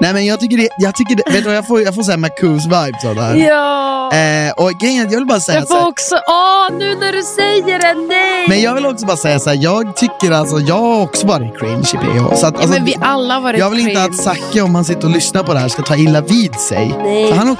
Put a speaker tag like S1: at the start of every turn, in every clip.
S1: Nej men jag tycker det, jag tycker det, vet du vad, jag får, jag får såhär Marcus vibes av det här.
S2: Ja!
S1: Eh, och grejen är att jag vill bara säga
S2: jag får
S1: såhär,
S2: också... Åh, nu när du säger det, nej!
S1: men jag vill också bara säga såhär, jag tycker alltså, jag har också varit cringe i PH. Så att,
S2: ja,
S1: alltså,
S2: men vi alla har varit
S1: jag vill inte att
S2: cringe.
S1: Zacke om han sitter och lyssnar på det här ska ta illa vid sig.
S2: Nej.
S1: För han har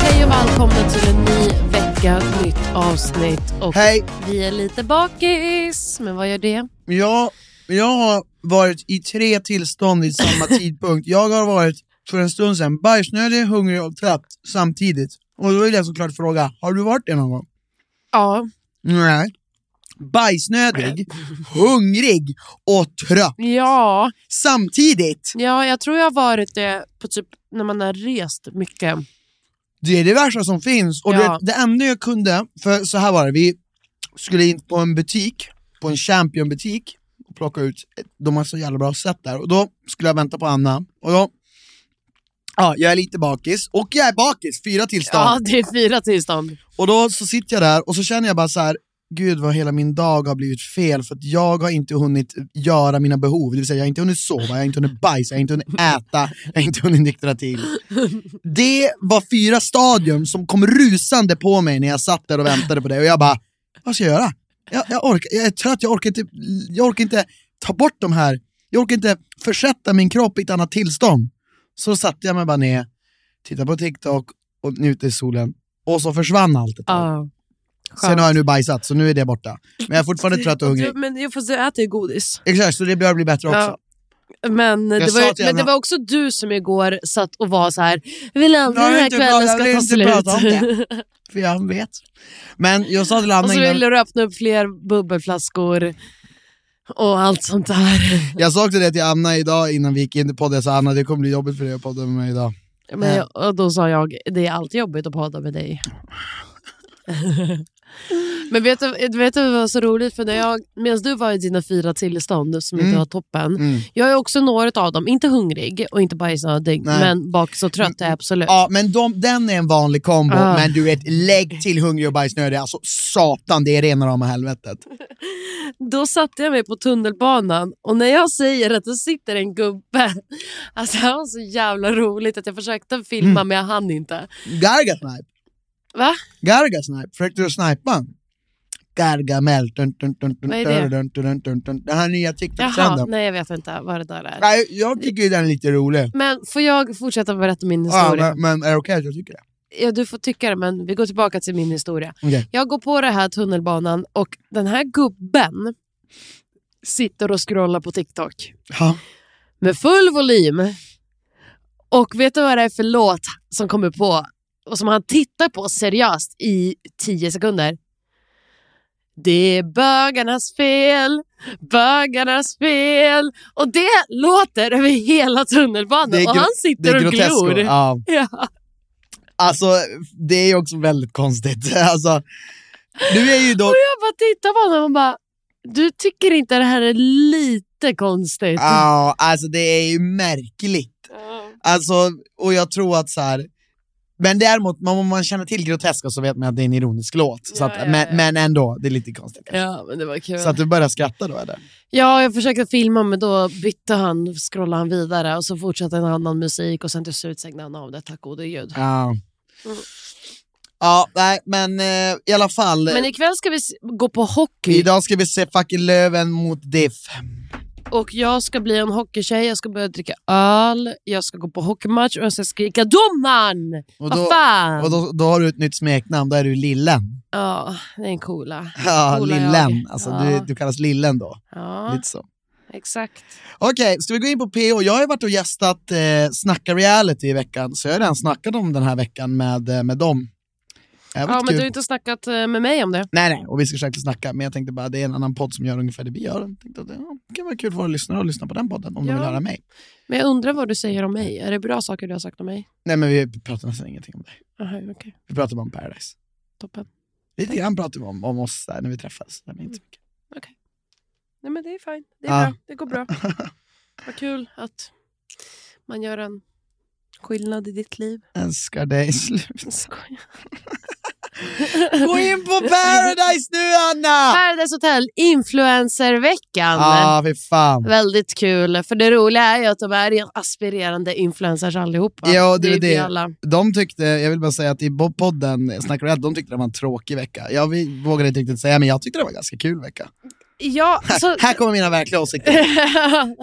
S2: Hej och välkomna till en ny vecka, ett nytt avsnitt. Och
S1: Hej.
S2: Vi är lite bakis, men vad gör det?
S1: Jag, jag har varit i tre tillstånd vid samma tidpunkt. Jag har varit för en stund sedan bajsnödig, hungrig och trött samtidigt. Och då vill jag såklart fråga, har du varit det någon gång?
S2: Ja,
S1: Nej. Bajsnödig, hungrig och trött
S2: ja,
S1: samtidigt.
S2: ja, jag tror jag har varit det på typ när man har rest mycket.
S1: Det är det värsta som finns. Och
S2: Ja.
S1: det, det enda jag kunde, för så här var det, vi skulle in på en butik, på en championbutik och plocka ut, de har så jävla bra set där. Och då skulle jag vänta på Anna, och då, ja jag är lite bakis, och jag är bakis, fyra tillstånd.
S2: Ja, det är fyra tillstånd.
S1: Och då så sitter jag där och så känner jag bara så här. Gud vad hela min dag har blivit fel för att jag har inte hunnit göra mina behov. Det vill säga jag har inte hunnit sova, jag har inte hunnit bajsa, jag har inte hunnit äta, jag har inte hunnit nyktra till. Det var fyra stadium som kom rusande på mig när jag satt där och väntade på det och jag bara, vad ska jag göra? Jag, jag, orkar, jag är trött, jag orkar, inte, jag orkar inte ta bort de här, jag orkar inte försätta min kropp i ett annat tillstånd. Så satte jag mig bara ner, tittade på TikTok och njuter i solen. Och så försvann allt ett tag.
S2: Ja.
S1: Sen har jag nu bajsat, så nu är det borta. Men jag är fortfarande trött och hungrig.
S2: Du, men jag får säga, jag äter ju godis.
S1: Exakt, så det bör bli bättre också.
S2: Ja. Men, det
S1: sa
S2: var, ju-
S1: till
S2: men
S1: henne-
S2: det var också du som igår satt och var så här, jag vill aldrig
S1: Jag
S2: den
S1: vill
S2: här
S1: inte prata-
S2: kvällen
S1: jag
S2: ska
S1: vill
S2: ta
S1: inte
S2: slut.
S1: prata om det. För jag vet. Men jag sa till Anna
S2: Och så
S1: innan,
S2: ville du öppna upp fler bubbelflaskor och allt sånt där.
S1: jag sa också det till Anna idag innan vi gick in i podden, jag sa Anna det kommer bli jobbigt för dig att podda med mig idag.
S2: Men, jag- och då sa jag, det är alltid jobbigt att podda med dig. Men vet du, vet du vad var så roligt? För när jag, medan du var i dina fyra tillstånd som inte
S1: Mm.
S2: var toppen.
S1: Mm.
S2: Jag är också några av dem, inte hungrig och inte bajsnödig,
S1: Nej.
S2: men bakis och trött är jag absolut.
S1: Ja men de, den är en vanlig kombo,
S2: Ah.
S1: men du vet lägg till hungrig och bajsnödig, alltså satan det är rena rama helvetet.
S2: Då satte jag mig på tunnelbanan och när jag säger att det sitter en gubbe, alltså det var så jävla roligt att jag försökte filma
S1: Mm.
S2: men jag hann inte.
S1: Gargasnipe,
S2: Va?
S1: gargasnipe, försökte du snipa? Gargamel, dun, dun, dun, dun,
S2: Vad är det?
S1: dun, dun, dun, dun, dun. den här nya TikTok-trenden.
S2: Jaha, nej jag vet inte vad det där är.
S1: Nej, jag tycker ju den är lite rolig.
S2: Men får jag fortsätta berätta min
S1: Ja,
S2: historia? Ja,
S1: men, men är det okej att jag tycker det?
S2: du får tycka det, men vi går tillbaka till min historia.
S1: Okej.
S2: Jag går på det här tunnelbanan och den här gubben sitter och scrollar på TikTok
S1: Ja.
S2: med full volym. Och vet du vad det är för låt som kommer på och som han tittar på seriöst i 10 sekunder? Det är bögarnas fel, bögarnas fel. Och det låter över hela
S1: Det
S2: tunnelbanan
S1: är
S2: och
S1: gro-
S2: han
S1: Det
S2: sitter
S1: är
S2: och glor.
S1: groteskt. Ja.
S2: Ja.
S1: Alltså, det är ju också väldigt konstigt. Alltså, Du är ju dock...
S2: Och jag bara tittar på honom och bara, du tycker inte det här är lite konstigt?
S1: Ja, alltså det är ju märkligt. Alltså, och jag tror att så här. Men däremot, man- om man känner till groteska så vet man att det är en ironisk låt. så
S2: Ja,
S1: att,
S2: ja,
S1: men,
S2: ja.
S1: men ändå, det är lite konstigt kanske.
S2: Ja, men det var kul.
S1: Så att du börjar skratta då eller?
S2: Ja, jag försökte filma men då bytte han, scrollade han vidare och så fortsatte en annan musik och sen till slut stängde han av det, tack gode gud.
S1: Ja.
S2: Mm.
S1: Ja, nej men eh, i alla fall.
S2: Men ikväll ska vi s- gå på hockey
S1: Idag ska vi se fucking Löven mot Diff.
S2: och jag ska bli en hockeytjej, jag ska börja dricka öl, jag ska gå på hockeymatch och jag ska skrika domaren!
S1: Och
S2: Vad
S1: då,
S2: fan!
S1: och då, då har du ett nytt smeknamn, då är du Lillen.
S2: Ja, det är en coola.
S1: Ja,
S2: Coola
S1: Lillen.
S2: jag.
S1: Alltså,
S2: Ja.
S1: du, du kallas Lillen då.
S2: Ja,
S1: Lite så.
S2: exakt.
S1: Okej, ska vi gå in på PO? Jag har ju varit och gästat eh, Snacka reality i veckan, så jag har redan snackat om den här veckan med, eh, med dem. Det har
S2: Ja,
S1: varit
S2: men
S1: kul.
S2: du har inte snackat eh, med mig om det.
S1: Nej, nej, och vi ska säkert snacka, men jag tänkte bara det är en annan podd som gör ungefär det vi gör. Jag tänkte att ja, det kan vara kul för våra lyssnare att lyssna på den podden om de
S2: Ja.
S1: vill höra mig.
S2: Men jag undrar vad du säger om mig. Är det bra saker du har sagt om mig?
S1: Nej, men vi pratar nästan ingenting om det.
S2: Aha, okej.
S1: Vi pratar bara om Paradise.
S2: Toppen.
S1: Lite grann pratar vi om, om oss där när vi träffas. Nej, men inte så mycket.
S2: Nej, men det är fint. Det
S1: är
S2: är
S1: Ja. bra.
S2: bra. Det går bra. Vad kul att man gör en skillnad i ditt liv.
S1: Älskar
S2: Mm.
S1: dig. Slut.
S2: Skojar.
S1: Gå in på Paradise nu Anna!
S2: Paradise Hotel, Ah. influencerveckan.
S1: Ja, ah, fy fan.
S2: Väldigt kul, för det roliga är ju att de är rent aspirerande influencers allihopa.
S1: Ja, det är
S2: ju vi
S1: det.
S2: Alla.
S1: De tyckte, jag vill bara säga att i bo- podden Snackar Red, de tyckte det var en tråkig vecka. Jag vi- vågade inte riktigt säga, men jag tyckte det var en ganska kul vecka.
S2: Ja, så...
S1: Här kommer mina verkliga åsikter.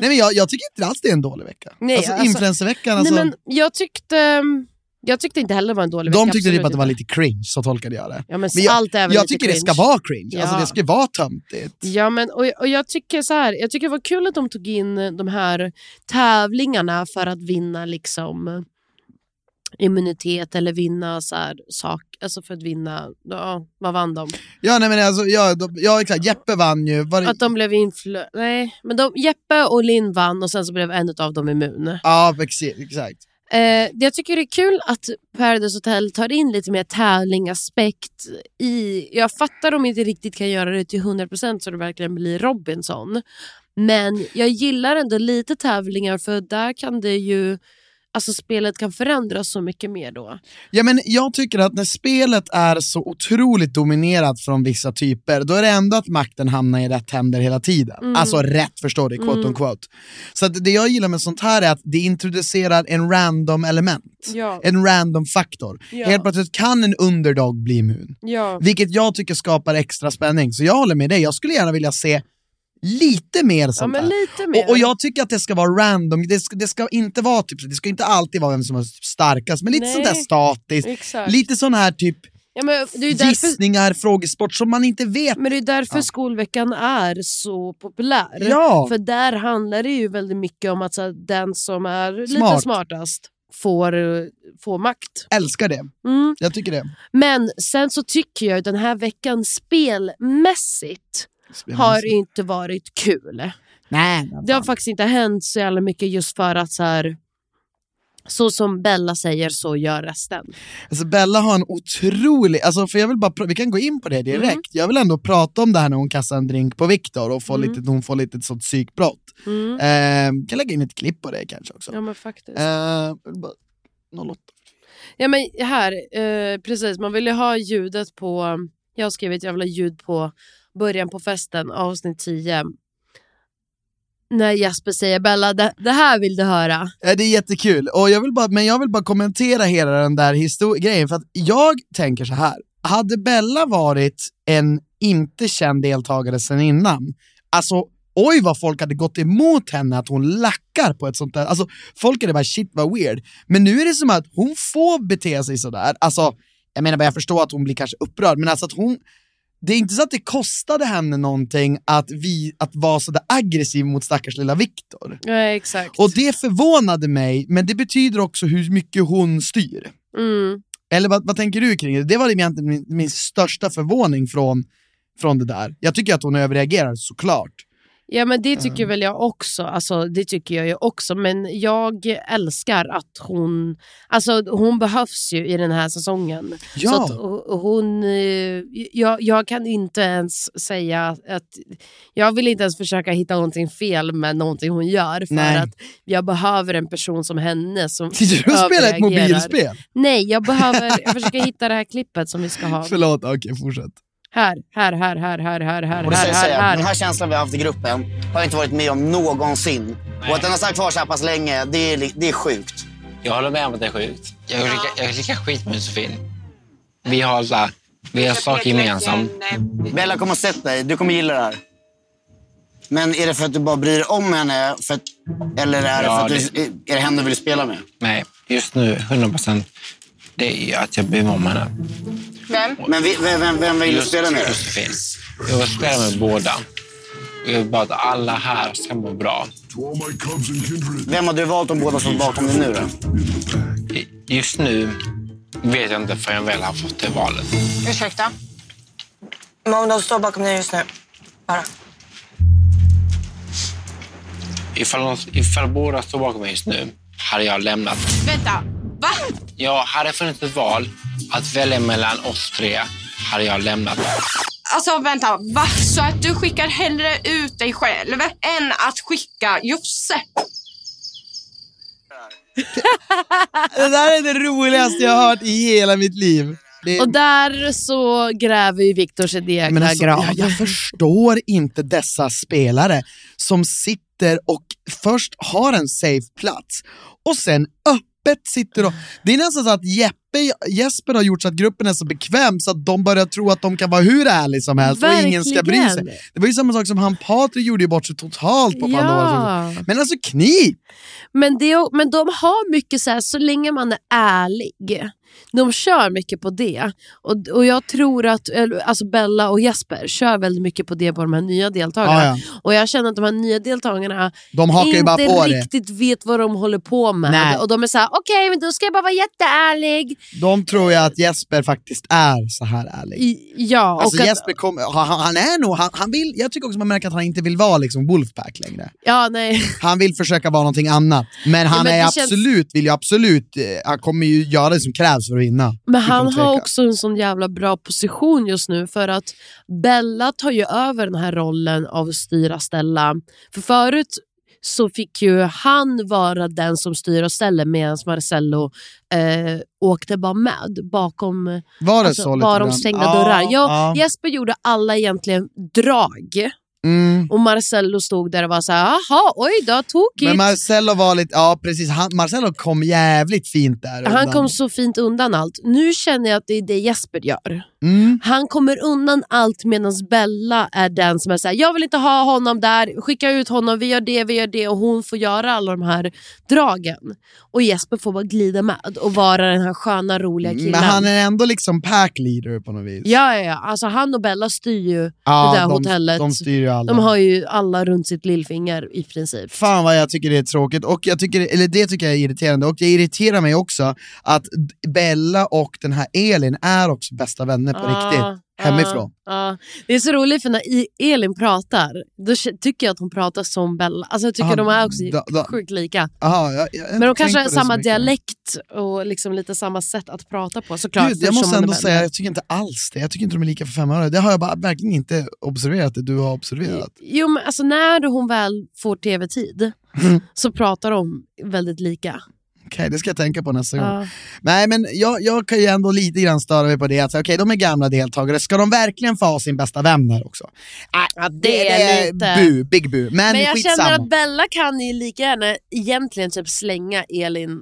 S1: Nej men jag, jag tycker inte alls det är en dålig vecka.
S2: Nej,
S1: alltså,
S2: alltså-
S1: influencerveckan, alltså,
S2: Nej, men jag tyckte... mm, Jag tyckte inte heller det var en dålig
S1: de
S2: vecka,
S1: tyckte typ
S2: absolut
S1: att det var
S2: inte.
S1: lite cringe, så tolkade jag det.
S2: Ja, men,
S1: Men jag-
S2: allt är väl
S1: Jag
S2: lite
S1: tycker det ska
S2: cringe.
S1: vara cringe, alltså
S2: Ja.
S1: det ska vara töntigt.
S2: Ja, men, och, och jag tycker så här, jag tycker det var kul att de tog in de här tävlingarna för att vinna liksom immunitet eller vinna så här, sak, alltså för att vinna, ja, vad vann de?
S1: Ja nej men alltså, ja, de, ja exakt, Jeppe vann ju. Var,
S2: Att de blev influ... Nej, men de, Jeppe och Linn vann och sen så blev en av dem immun. Eh,
S1: Ja exi- exakt.
S2: jag tycker det är kul att Paradise Hotel tar in lite mer tävlingaspekt i... Jag fattar om de inte riktigt kan göra det till 100% så det verkligen blir Robinson. Men jag gillar ändå lite tävlingar för där kan det ju... Alltså spelet kan förändras så mycket mer då.
S1: Ja, men jag tycker att när spelet är så otroligt dominerat från vissa typer, då är det ändå att makten hamnar i rätt händer hela tiden.
S2: Mm.
S1: Alltså rätt, förstår du, quote on quote. Så att det jag gillar med sånt här är att det introducerar en random element.
S2: Ja,
S1: En random faktor.
S2: Ja.
S1: Helt plötsligt kan en underdog bli immun.
S2: ja.
S1: Vilket jag tycker skapar extra spänning. Så jag håller med dig, jag skulle gärna vilja se lite mer sånt
S2: Ja, men
S1: här.
S2: lite mer.
S1: Och, och jag tycker att det ska vara random, det ska, det ska inte vara typ, det ska inte alltid vara vem som är starkast, men lite
S2: Nej.
S1: sånt där statiskt.
S2: Exakt.
S1: Lite sån här typ
S2: ja, men det är ju därför...
S1: gissningar, frågesport som man inte vet.
S2: Men det är därför
S1: Ja.
S2: skolveckan är så populär.
S1: Ja.
S2: För där handlar det ju väldigt mycket om att så här, den som är lite
S1: Smart.
S2: smartast får, eh, får makt.
S1: Älskar det,
S2: Mm.
S1: jag tycker det.
S2: Men sen så tycker jag ju den här veckan spelmässigt har ju inte varit kul.
S1: Nej,
S2: Det har faktiskt inte hänt så jävla mycket just för att så här, så som Bella säger så gör resten.
S1: alltså Bella har en otrolig, alltså för jag vill bara, pr- vi kan gå in på det direkt.
S2: Mm.
S1: Jag vill ändå prata om det här när hon kastar en drink på Viktor och får
S2: Mm.
S1: lite, hon får lite sånt psykbrott.
S2: Mm.
S1: Eh, kan lägga in ett klipp på det kanske också.
S2: Ja men faktiskt.
S1: Eh, jag vill bara- 08.
S2: Ja men här, eh, precis. Man ville ha ljudet på... Jag skrev ett jävla ljud på början på festen, avsnitt 10. När Jesper säger Bella, det, det här vill du höra.
S1: Ja, Det är jättekul, och jag vill bara, men jag vill bara kommentera hela den där histo- grejen, för att jag tänker så här. Hade Bella varit en inte känd deltagare sen innan, alltså oj vad folk hade gått emot henne att hon lackar på ett sånt där, alltså folk hade bara shit vad weird. Men nu är det som att hon får bete sig sådär, alltså jag menar bara jag förstår att hon blir kanske upprörd, men alltså att hon det är inte så att det kostade henne någonting att, vi, att vara sådär aggressiv mot stackars lilla Viktor.
S2: Ja, exakt.
S1: Och det förvånade mig, men det betyder också hur mycket hon styr.
S2: Mm.
S1: Eller vad, vad tänker du kring det? Det var egentligen min, min största förvåning från, från det där. Jag tycker att hon överreagerar såklart.
S2: Ja men det tycker
S1: Mm.
S2: väl jag också. Alltså, det tycker jag ju också. Men jag älskar att hon... Alltså hon behövs ju i den här säsongen. Så
S1: Ja.
S2: att ho- hon... eh, Jag, jag kan inte ens säga att... Jag vill inte ens försöka hitta någonting fel med någonting hon gör. För
S1: Nej.
S2: att jag behöver en person som henne som
S1: Sitter du och spelar ett
S2: överreagerar.
S1: mobilspel?
S2: Nej, jag behöver... Jag försöker hitta det här klippet som vi ska ha.
S1: Förlåt, okej fortsätt.
S2: Här, här, här, här, här, här, här,
S3: Och det
S2: här,
S3: säger
S2: här,
S3: jag, den
S2: här.
S3: här känslan vi har haft i gruppen har jag inte varit med om någonsin. Och att den har sagt kvar så här pass länge, det är, li- det är sjukt.
S4: Jag håller med om att det är sjukt. Jag är lika, jag är lika skit med Josefin. Vi har, så här, vi har saker gemensamt.
S3: Bella kommer att sett dig, du kommer gilla det här. Men är det för att du bara bryr dig om henne? För att, eller är det,
S4: Ja,
S3: för att du, är det henne du vill spela med?
S4: Nej, just nu 100 procent. Det är ju att jag bryr mig om henne.
S5: Vem?
S3: Men vi- vem, vem, vem vill du
S4: Just
S3: spela med?
S4: Josefin. Jag vill spela med båda. Och jag vill bara att alla här ska må bra.
S3: Vem har du valt om båda står bakom dig nu då?
S4: I- Just nu vet jag inte förrän jag väl har fått det valet.
S5: Ursäkta?
S6: Mona, de står bakom dig just nu. Bara.
S4: Ifall, någon, ifall båda står bakom mig just nu hade jag lämnat.
S5: Vänta, va?
S4: Jag hade funnits ett val. Att välja mellan oss tre hade jag lämnat.
S5: Alltså vänta, va? Så att du skickar hellre ut dig själv än att skicka Josse?
S1: Det där är det roligaste jag har hört i hela mitt liv. Det
S2: Och där så gräver ju Viktor sin egna
S1: alltså,
S2: grav.
S1: jag, jag förstår inte dessa spelare som sitter och först har en safe plats och sen öppet sitter och... Det är nästan så att Jeppe, Jesper har gjort så att gruppen är så bekväm så att de börjar tro att de kan vara hur ärliga som helst och ingen ska bry sig.
S2: Verkligen.
S1: Det var ju samma sak som han Patrik gjorde ju bort sig totalt på Pandoras.
S2: Ja.
S1: Men alltså knip!
S2: Men, det, är- men de har mycket så här, så länge man är ärlig. De kör mycket på det. Och, och jag tror att eller, alltså Bella och Jesper kör väldigt mycket på det på de här nya deltagarna.
S1: Ja, ja.
S2: Och jag känner att de här nya deltagarna
S1: De hakar ju bara
S2: inte
S1: på det.
S2: riktigt vet vad de håller på med.
S1: Nej.
S2: Och de är så här: okej men då ska jag bara vara jätteärlig.
S1: De tror ju att Jesper faktiskt är så här ärlig.
S2: I, ja,
S1: Alltså
S2: och att,
S1: Jesper kommer, han, han- han är nog, han, han vill, jag tycker också man märker att han inte vill vara liksom Wolfpack längre.
S2: ja, nej.
S1: Han vill försöka vara någonting annat. Men han
S2: men det
S1: är
S2: känns-
S1: absolut, vill ju absolut, eh, han kommer ju göra det som krävs för att vinna.
S2: Men
S1: Utan
S2: han har
S1: tvekan.
S2: också en sån jävla bra position just nu för att Bella tar ju över den här rollen av att styra och ställa. För förut så fick ju han vara den som styr och ställer medan Marcello eh, åkte bara med bakom
S1: Var det så
S2: alltså,
S1: lite
S2: bakom
S1: grann?
S2: stängda dörrar.
S1: Ja,
S2: Ja, Jesper gjorde alla egentligen drag
S1: Mm.
S2: och Marcello stod där och var så här, jaha, oj då,
S1: Men
S2: tokigt.
S1: Marcello var lite, ja precis, han, Marcello kom jävligt fint där.
S2: Han
S1: undan.
S2: kom så fint undan allt. Nu känner jag att det är det Jesper gör.
S1: Mm.
S2: Han kommer undan allt medan Bella är den som är såhär, jag vill inte ha honom där, skicka ut honom, vi gör det, vi gör det och hon får göra alla de här dragen. Och Jesper får bara glida med och vara den här sköna, roliga killen.
S1: Men han är ändå liksom pack leader på något vis.
S2: Ja, ja, ja. Alltså, han och Bella styr ju,
S1: Ja,
S2: det där
S1: de,
S2: hotellet.
S1: De styr ju alla.
S2: de har ju alla runt sitt lillfinger i princip.
S1: Fan vad jag tycker det är tråkigt, och jag tycker, eller det tycker jag är irriterande, och det irriterar mig också att d- Bella och den här Elin är också bästa vänner på
S2: Ah,
S1: riktigt, hemifrån.
S2: ah, ah. Det är så roligt för när I- Elin pratar, då k- tycker jag att hon pratar som Bella. Alltså, jag tycker
S1: Ah,
S2: de är också
S1: da- da-
S2: sjukt lika.
S1: Aha, jag, jag har inte
S2: Men de
S1: tänkt
S2: kanske
S1: på
S2: har
S1: det så
S2: samma
S1: mycket.
S2: dialekt och liksom lite samma sätt att prata på såklart.
S1: Gud, jag
S2: eftersom
S1: måste
S2: man är
S1: ändå
S2: vän.
S1: säga, jag tycker inte alls det. Jag tycker inte de är lika för fem öre. Det har jag bara verkligen inte observerat, det du har observerat.
S2: Jo, men alltså när hon väl får tv-tid
S1: Mm.
S2: så pratar de väldigt lika.
S1: Okej, det ska jag tänka på nästa gång.
S2: Ja.
S1: Nej, men jag, jag kan ju ändå lite grann störa mig på det. att säga, Okej, de är gamla deltagare. Ska de verkligen få ha sin bästa vän där också?
S2: Ja, det är lite-
S1: Bu, big bu. Men,
S2: Men jag
S1: skitsamma.
S2: känner att Bella kan ju lika gärna egentligen typ slänga Elin.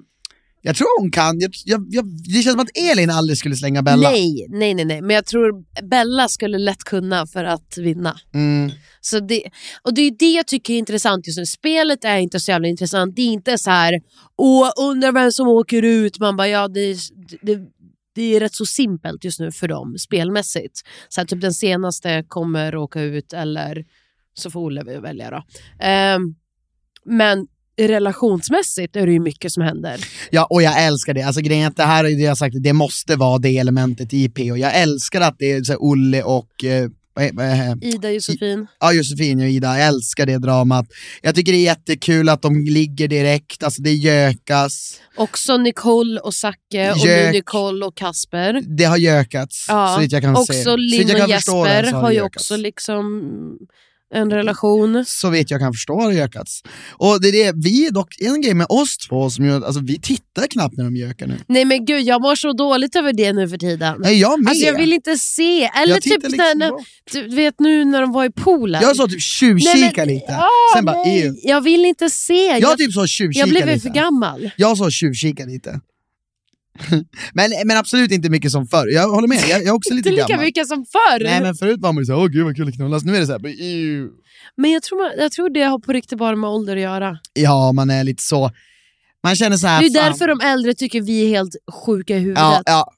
S1: Jag tror hon kan. Jag, jag, jag, det känns som att Elin aldrig skulle slänga Bella.
S2: Nej, nej, nej, nej. Men jag tror Bella skulle lätt kunna för att vinna.
S1: Mm.
S2: Så det, och det är det jag tycker är intressant just nu. Spelet är inte så jävla intressant. Det är inte så här, åh, undrar vem som åker ut. Man bara, ja, det, det, det är rätt så simpelt just nu för dem spelmässigt. Så här, typ den senaste kommer åka ut eller så får Olle välja då. Ehm, men relationsmässigt är det ju mycket som händer.
S1: Ja, och jag älskar det. Alltså grejen är att det här är det jag har sagt, det måste vara det elementet i PO. Jag älskar att det är så här, Olle och eh, vad he- vad he-
S2: Ida, Josefin.
S1: Ja, Josefin och Ida, jag älskar det dramat. Jag tycker det är jättekul att de ligger direkt, alltså det gökas.
S2: Också Nicole och Zacke och nu
S1: Jök.
S2: Nicole och Kasper.
S1: Det har gökats,
S2: Ja,
S1: så vitt jag kan
S2: också
S1: se. Så vitt
S2: Linn
S1: jag kan
S2: och
S1: förstå det,
S2: Jesper
S1: så alltså.
S2: har,
S1: det
S2: ju
S1: gökats.
S2: också liksom en relation.
S1: Så vitt jag kan förstå har det gökats. Och det är det, vi är dock, en grej med oss två som gör att alltså, vi tittar knappt när de gökar nu.
S2: Nej men gud, jag mår så dåligt över det nu för tiden.
S1: Nej, jag med.
S2: Alltså jag vill inte se. Eller
S1: jag
S2: typ
S1: tittar
S2: när,
S1: liksom
S2: när,
S1: bort.
S2: du vet nu när de var i poolen.
S1: Jag så typ
S2: Nej,
S1: tjuvkika
S2: men-
S1: lite.
S2: Ja,
S1: Sen bara,
S2: nej,
S1: ew.
S2: Jag vill inte se. Jag,
S1: Jag
S2: jag,
S1: typ så tjuvkika
S2: blev ju
S1: lite.
S2: för gammal.
S1: Jag sa tjuvkika lite. men, men absolut inte mycket som förr. Jag håller med, jag, jag är också lite
S2: Inte lika
S1: gammal.
S2: mycket som förr.
S1: Nej men förut var man ju såhär, åh gud vad kul att knullas. Nu är det såhär, "Ew."
S2: Men jag tror, man, jag tror det har på riktigt bara med ålder att göra.
S1: ja man är lite så. Man känner
S2: Det
S1: såhär,
S2: är ju
S1: fan.
S2: därför de äldre tycker vi är helt sjuka i huvudet.
S1: Ja, ja.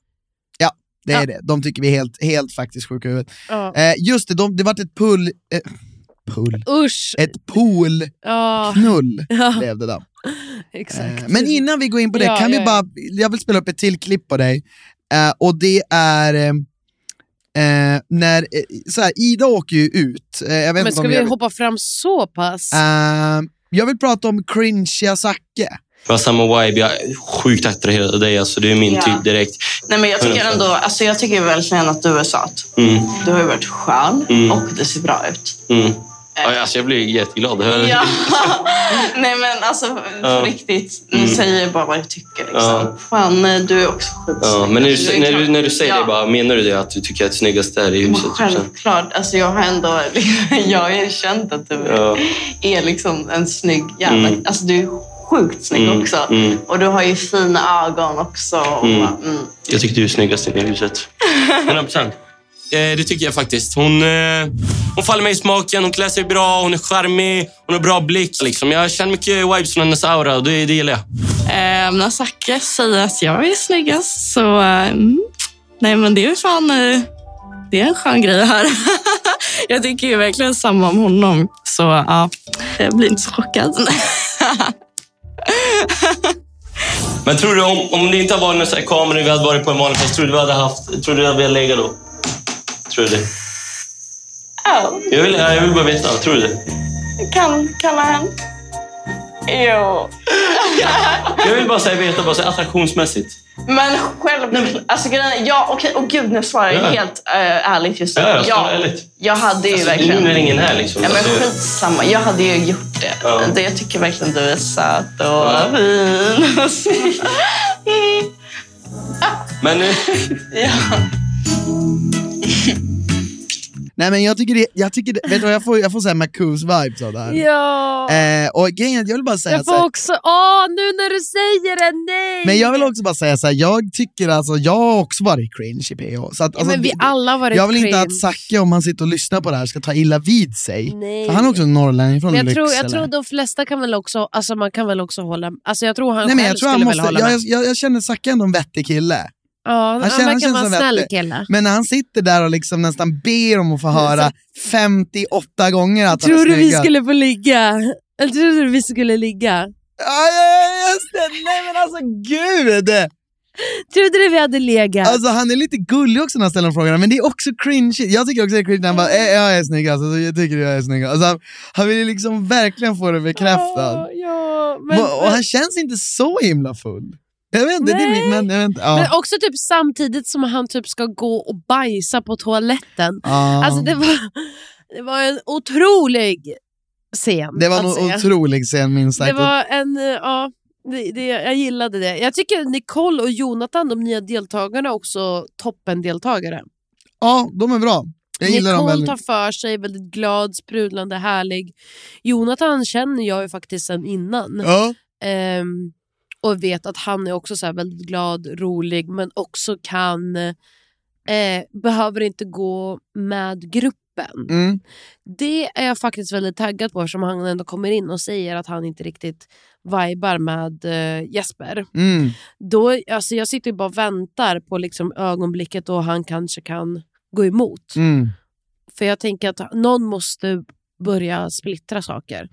S1: ja det är
S2: Ja.
S1: det. De tycker vi är helt, helt faktiskt sjuka i huvudet.
S2: Ja.
S1: Eh, just det, de, det vart ett pull... Eh, pull?
S2: Usch.
S1: Ett poolknull
S2: Ja, ja,
S1: blev det då.
S2: exakt.
S1: Eh, Men innan vi går in på det,
S2: Ja,
S1: kan
S2: ja,
S1: vi
S2: ja.
S1: bara, jag vill spela upp ett till klipp på dig. Eh, och det är eh, eh, när, eh, så här, Ida åker ju ut. Eh, jag vet
S2: Men
S1: inte
S2: ska
S1: om
S2: vi
S1: jag, vill,
S2: hoppa fram så pass?
S1: Eh, jag vill prata om cringea Zacke.
S7: Det var samma vibe. Jag är sjukt attraherad av dig. Alltså, du är min
S6: Ja.
S7: typ direkt.
S6: Nej, men jag tycker ändå, alltså jag tycker verkligen att du är söt.
S7: Mm,
S6: Du har ju varit skön
S7: Mm.
S6: och det ser bra ut.
S7: mm. Ja, Alltså, jag blir jätteglad. Hör-
S6: Ja. Nej men alltså
S7: Ja.
S6: på riktigt, nu
S7: Mm.
S6: säger jag bara vad jag tycker. Liksom.
S7: Ja.
S6: Fan, eh, du är också skitsnygg.
S7: Ja, men när
S6: Alltså,
S7: du,
S6: är
S7: när, du,
S6: klart-
S7: när du säger
S6: ja.
S7: det, bara, menar du det att du tycker att det snyggaste här i
S6: Men
S7: huset? typ så här?
S6: Självklart, alltså jag har ändå jag har erkänt att du
S7: Ja.
S6: är liksom en snygg jävla...
S7: Mm.
S6: Alltså du är sjukt snygg
S7: Mm,
S6: också.
S7: mm.
S6: Och du har ju fina ögon också. Och
S7: Mm.
S6: bara, mm.
S7: Jag tycker du är snyggast i det huset. 100 procent. Eh, Det tycker jag faktiskt. Hon, eh, hon faller mig i smaken, hon klär sig bra, hon är charmig, hon har bra blick. Liksom. Jag känner mycket vibes från hennes aura och det, det gillar jag.
S8: Eh, när Zacke säger att jag är snyggast så... eh, Mm, nej, men det är fan... Eh, det är en skön grej här. jag tycker ju verkligen samma om honom. Så ja, jag blir inte så chockad.
S7: Men tror du, om, om det inte hade varit någon sån här kamera vi hade varit på en vanlig fest, tror du vi hade haft... Tror du att vi hade legat då? Tror du det?
S6: Ja,
S7: Jag vill, jag vill bara veta. Tror du det?
S6: det kan, kan ha hänt. Jo.
S7: Jag vill bara säga, veta, bara säga attraktionsmässigt.
S6: Men självklart. Alltså grejen är- ja okej, och gud nu svarar jag
S7: Ja.
S6: helt eh, ärligt just nu.
S7: Ja, jag svarar ärligt.
S6: jag hade ju
S7: Alltså, nu
S6: verkligen...
S7: är det ingen här liksom.
S6: Ja, men
S7: Alltså,
S6: skitsamma, jag hade ju gjort det.
S7: Ja.
S6: det jag tycker verkligen du är söt och
S7: Ja.
S6: fin och snygg.
S7: men eh,
S1: Nej men jag tycker det, jag tycker det, vet du vad, jag får, jag får såhär Marcus-vibes av det här.
S2: ja.
S1: Eh, och grejen är att jag vill bara säga
S2: Jag
S1: så här-
S2: får också... Åh, nu när du säger det, nej!
S1: Men jag vill också bara säga så här, jag tycker alltså, jag har också varit cringe i PH. Så att,
S2: Ja,
S1: alltså,
S2: men vi
S1: det-
S2: alla har varit
S1: jag vill inte
S2: cringe.
S1: att Zacke, om han sitter och lyssnar på det här, ska ta illa vid sig.
S2: Nej.
S1: För han är också en norrlänning från
S2: Men jag
S1: Lycksele.
S2: tror, jag tror de flesta kan väl också, alltså man kan väl också hålla, alltså jag tror han
S1: Nej,
S2: själv
S1: men jag, tror
S2: skulle
S1: han
S2: väl
S1: måste,
S2: hålla
S1: jag,
S2: med.
S1: jag, jag känner Zacke ändå en vettig kille.
S2: Ja, han,
S1: känner- han
S2: verkar
S1: känns
S2: vara en
S1: som
S2: snäll
S1: vettig.
S2: kille.
S1: Men när han sitter där och liksom nästan ber om att få höra 58 gånger att
S2: Tror
S1: han är
S2: du vi
S1: snyggast.
S2: skulle få ligga? Eller tror du vi skulle ligga?
S1: Ja, ja, ja, just det. Nej men alltså gud!
S2: Trodde du vi hade legat?
S1: Alltså han är lite gullig också när han ställer de frågorna, men det är också cringe. Jag tycker också det är cringe när han bara eh, “jag är snygg alltså, jag tycker jag är snygg”. Alltså, han, han vill ju liksom verkligen få det bekräftat.
S2: Ja, ja, men,
S1: och, och han känns inte så himla full. Jag vet inte, det är
S2: Nej.
S1: min- men jag vet inte. Ja.
S2: men också typ samtidigt som han typ ska gå och bajsa på toaletten.
S1: Ja.
S2: Alltså det var, det var en otrolig scen.
S1: det var
S2: att se.
S1: en otrolig scen minst
S2: Alltså, Det
S1: sagt.
S2: var en, eh, ja, det, det, jag gillade det. Jag tycker Nicole och Jonathan, de nya deltagarna, är också toppendeltagare.
S1: Ja, de är bra. Jag gillar dem
S2: Nicole
S1: väldigt.
S2: tar för sig, väldigt glad, sprudlande, härlig. Jonathan känner jag ju faktiskt sen innan.
S1: Ja.
S2: Ehm, och vet att han är också så här väldigt glad, rolig, men också kan... Eh, behöver inte gå med gruppen.
S1: Mm.
S2: Det är jag faktiskt väldigt taggad på eftersom han ändå kommer in och säger att han inte riktigt vibar med eh, Jesper.
S1: Mm.
S2: Då, alltså, jag sitter ju bara och väntar på liksom, ögonblicket då han kanske kan gå emot.
S1: Mm.
S2: För jag tänker att någon måste börja splittra saker.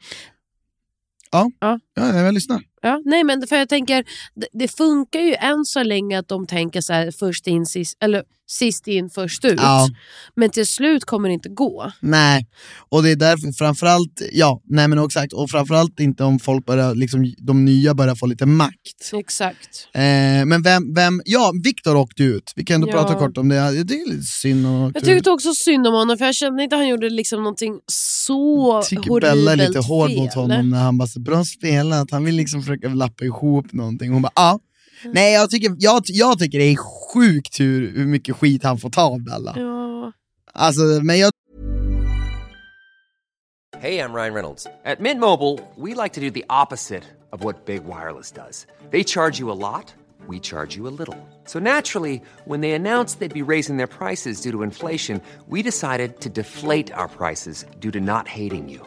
S1: Ja, jag lyssnar.
S2: Ja, nej, men för jag tänker, det, det funkar ju än så länge att de tänker så här, först in, sist, eller, sist in, först ut.
S1: Ja.
S2: Men till slut kommer det inte gå.
S1: Nej, och det är därför framförallt, ja, nej men exakt, och framförallt inte om folk börjar, liksom, de nya börjar få lite makt.
S2: Exakt.
S1: Eh, men vem, vem, ja, Viktor åkte ju ut. Vi kan ändå
S2: Ja.
S1: prata kort om det. Det är lite synd. om han åkte
S2: Jag
S1: ut.
S2: tyckte också synd om honom, för jag kände inte att han gjorde liksom någonting så
S1: tycker
S2: horribelt
S1: Bella är lite hård mot
S2: fel.
S1: honom när han bara så bra spelat, han vill liksom försöka lappa ihop någonting. Hon bara ja.
S2: Mm.
S1: Nej jag tycker, jag, jag tycker det är sjukt hur, hur mycket skit han får ta av Bella.
S2: Mm. Ja.
S1: Alltså, men jag
S9: Hey, I'm Ryan Reynolds. At Mint Mobile, we like to do the opposite of what Big Wireless does. They charge you a lot, we charge you a little. So naturally, when they announced they'd be raising their prices due to inflation, we decided to deflate our prices due to not hating you.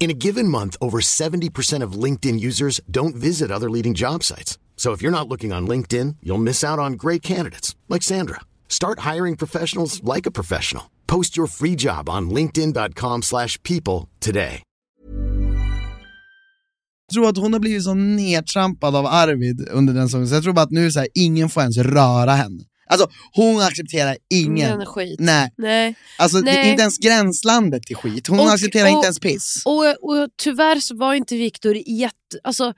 S10: In a given month, over 70% of LinkedIn users don't visit other leading job sites. So if you're not looking on LinkedIn, you'll miss out on great candidates like Sandra. Start hiring professionals like a professional. Post your free job on linkedin.com/people slash people today.
S1: tror att hon har blivit så nedtrampad av Arvid under den säsongen, så jag tror bara att nu så här, ingen får ens röra henne. Alltså hon accepterar ingen.
S2: Ingen skit.
S1: Nej.
S2: Nej.
S1: Alltså det
S2: Nej.
S1: är inte ens gränslandet till skit. Hon
S2: Och-
S1: accepterar
S2: och-
S1: inte ens piss.
S2: Och, och tyvärr så var inte Viktor jätte... Alltså,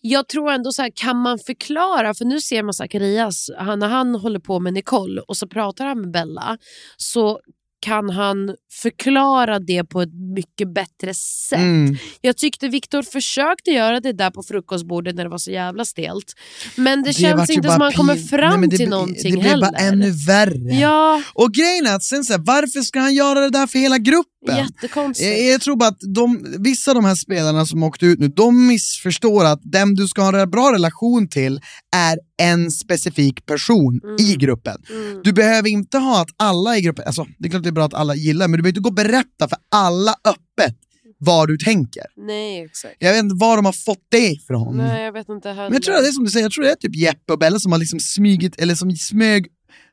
S2: jag tror ändå så här, kan man förklara, för nu ser man Zacharias, han, när han håller på med Nicole och så pratar han med Bella, så kan han förklara det på ett mycket bättre sätt.
S1: Mm.
S2: Jag tyckte Viktor försökte göra det där på frukostbordet när det var så jävla stelt. Men det,
S1: vart
S2: känns
S1: ju
S2: inte
S1: bara
S2: som han kommer
S1: pin-
S2: fram
S1: Nej, men det
S2: till
S1: blir-
S2: någonting
S1: Det blir
S2: heller.
S1: bara ännu värre.
S2: Ja.
S1: Och grejen är att sen så här, varför ska han göra det där för hela gruppen?
S2: Jättekonstigt.
S1: Jag, jag tror bara att de, vissa av de här spelarna som åkte ut nu, de missförstår att den du ska ha en bra relation till är en specifik person i gruppen. Du behöver inte ha att alla i gruppen, alltså det är klart det är bra att alla gillar, men du behöver inte gå och berätta för alla öppet vad du tänker.
S2: Nej, exakt.
S1: Jag vet inte var de har fått det ifrån.
S2: Nej, jag vet inte heller.
S1: Men jag tror det är som du säger, jag tror det är typ Jeppe och Bella som har liksom smygit, eller som smög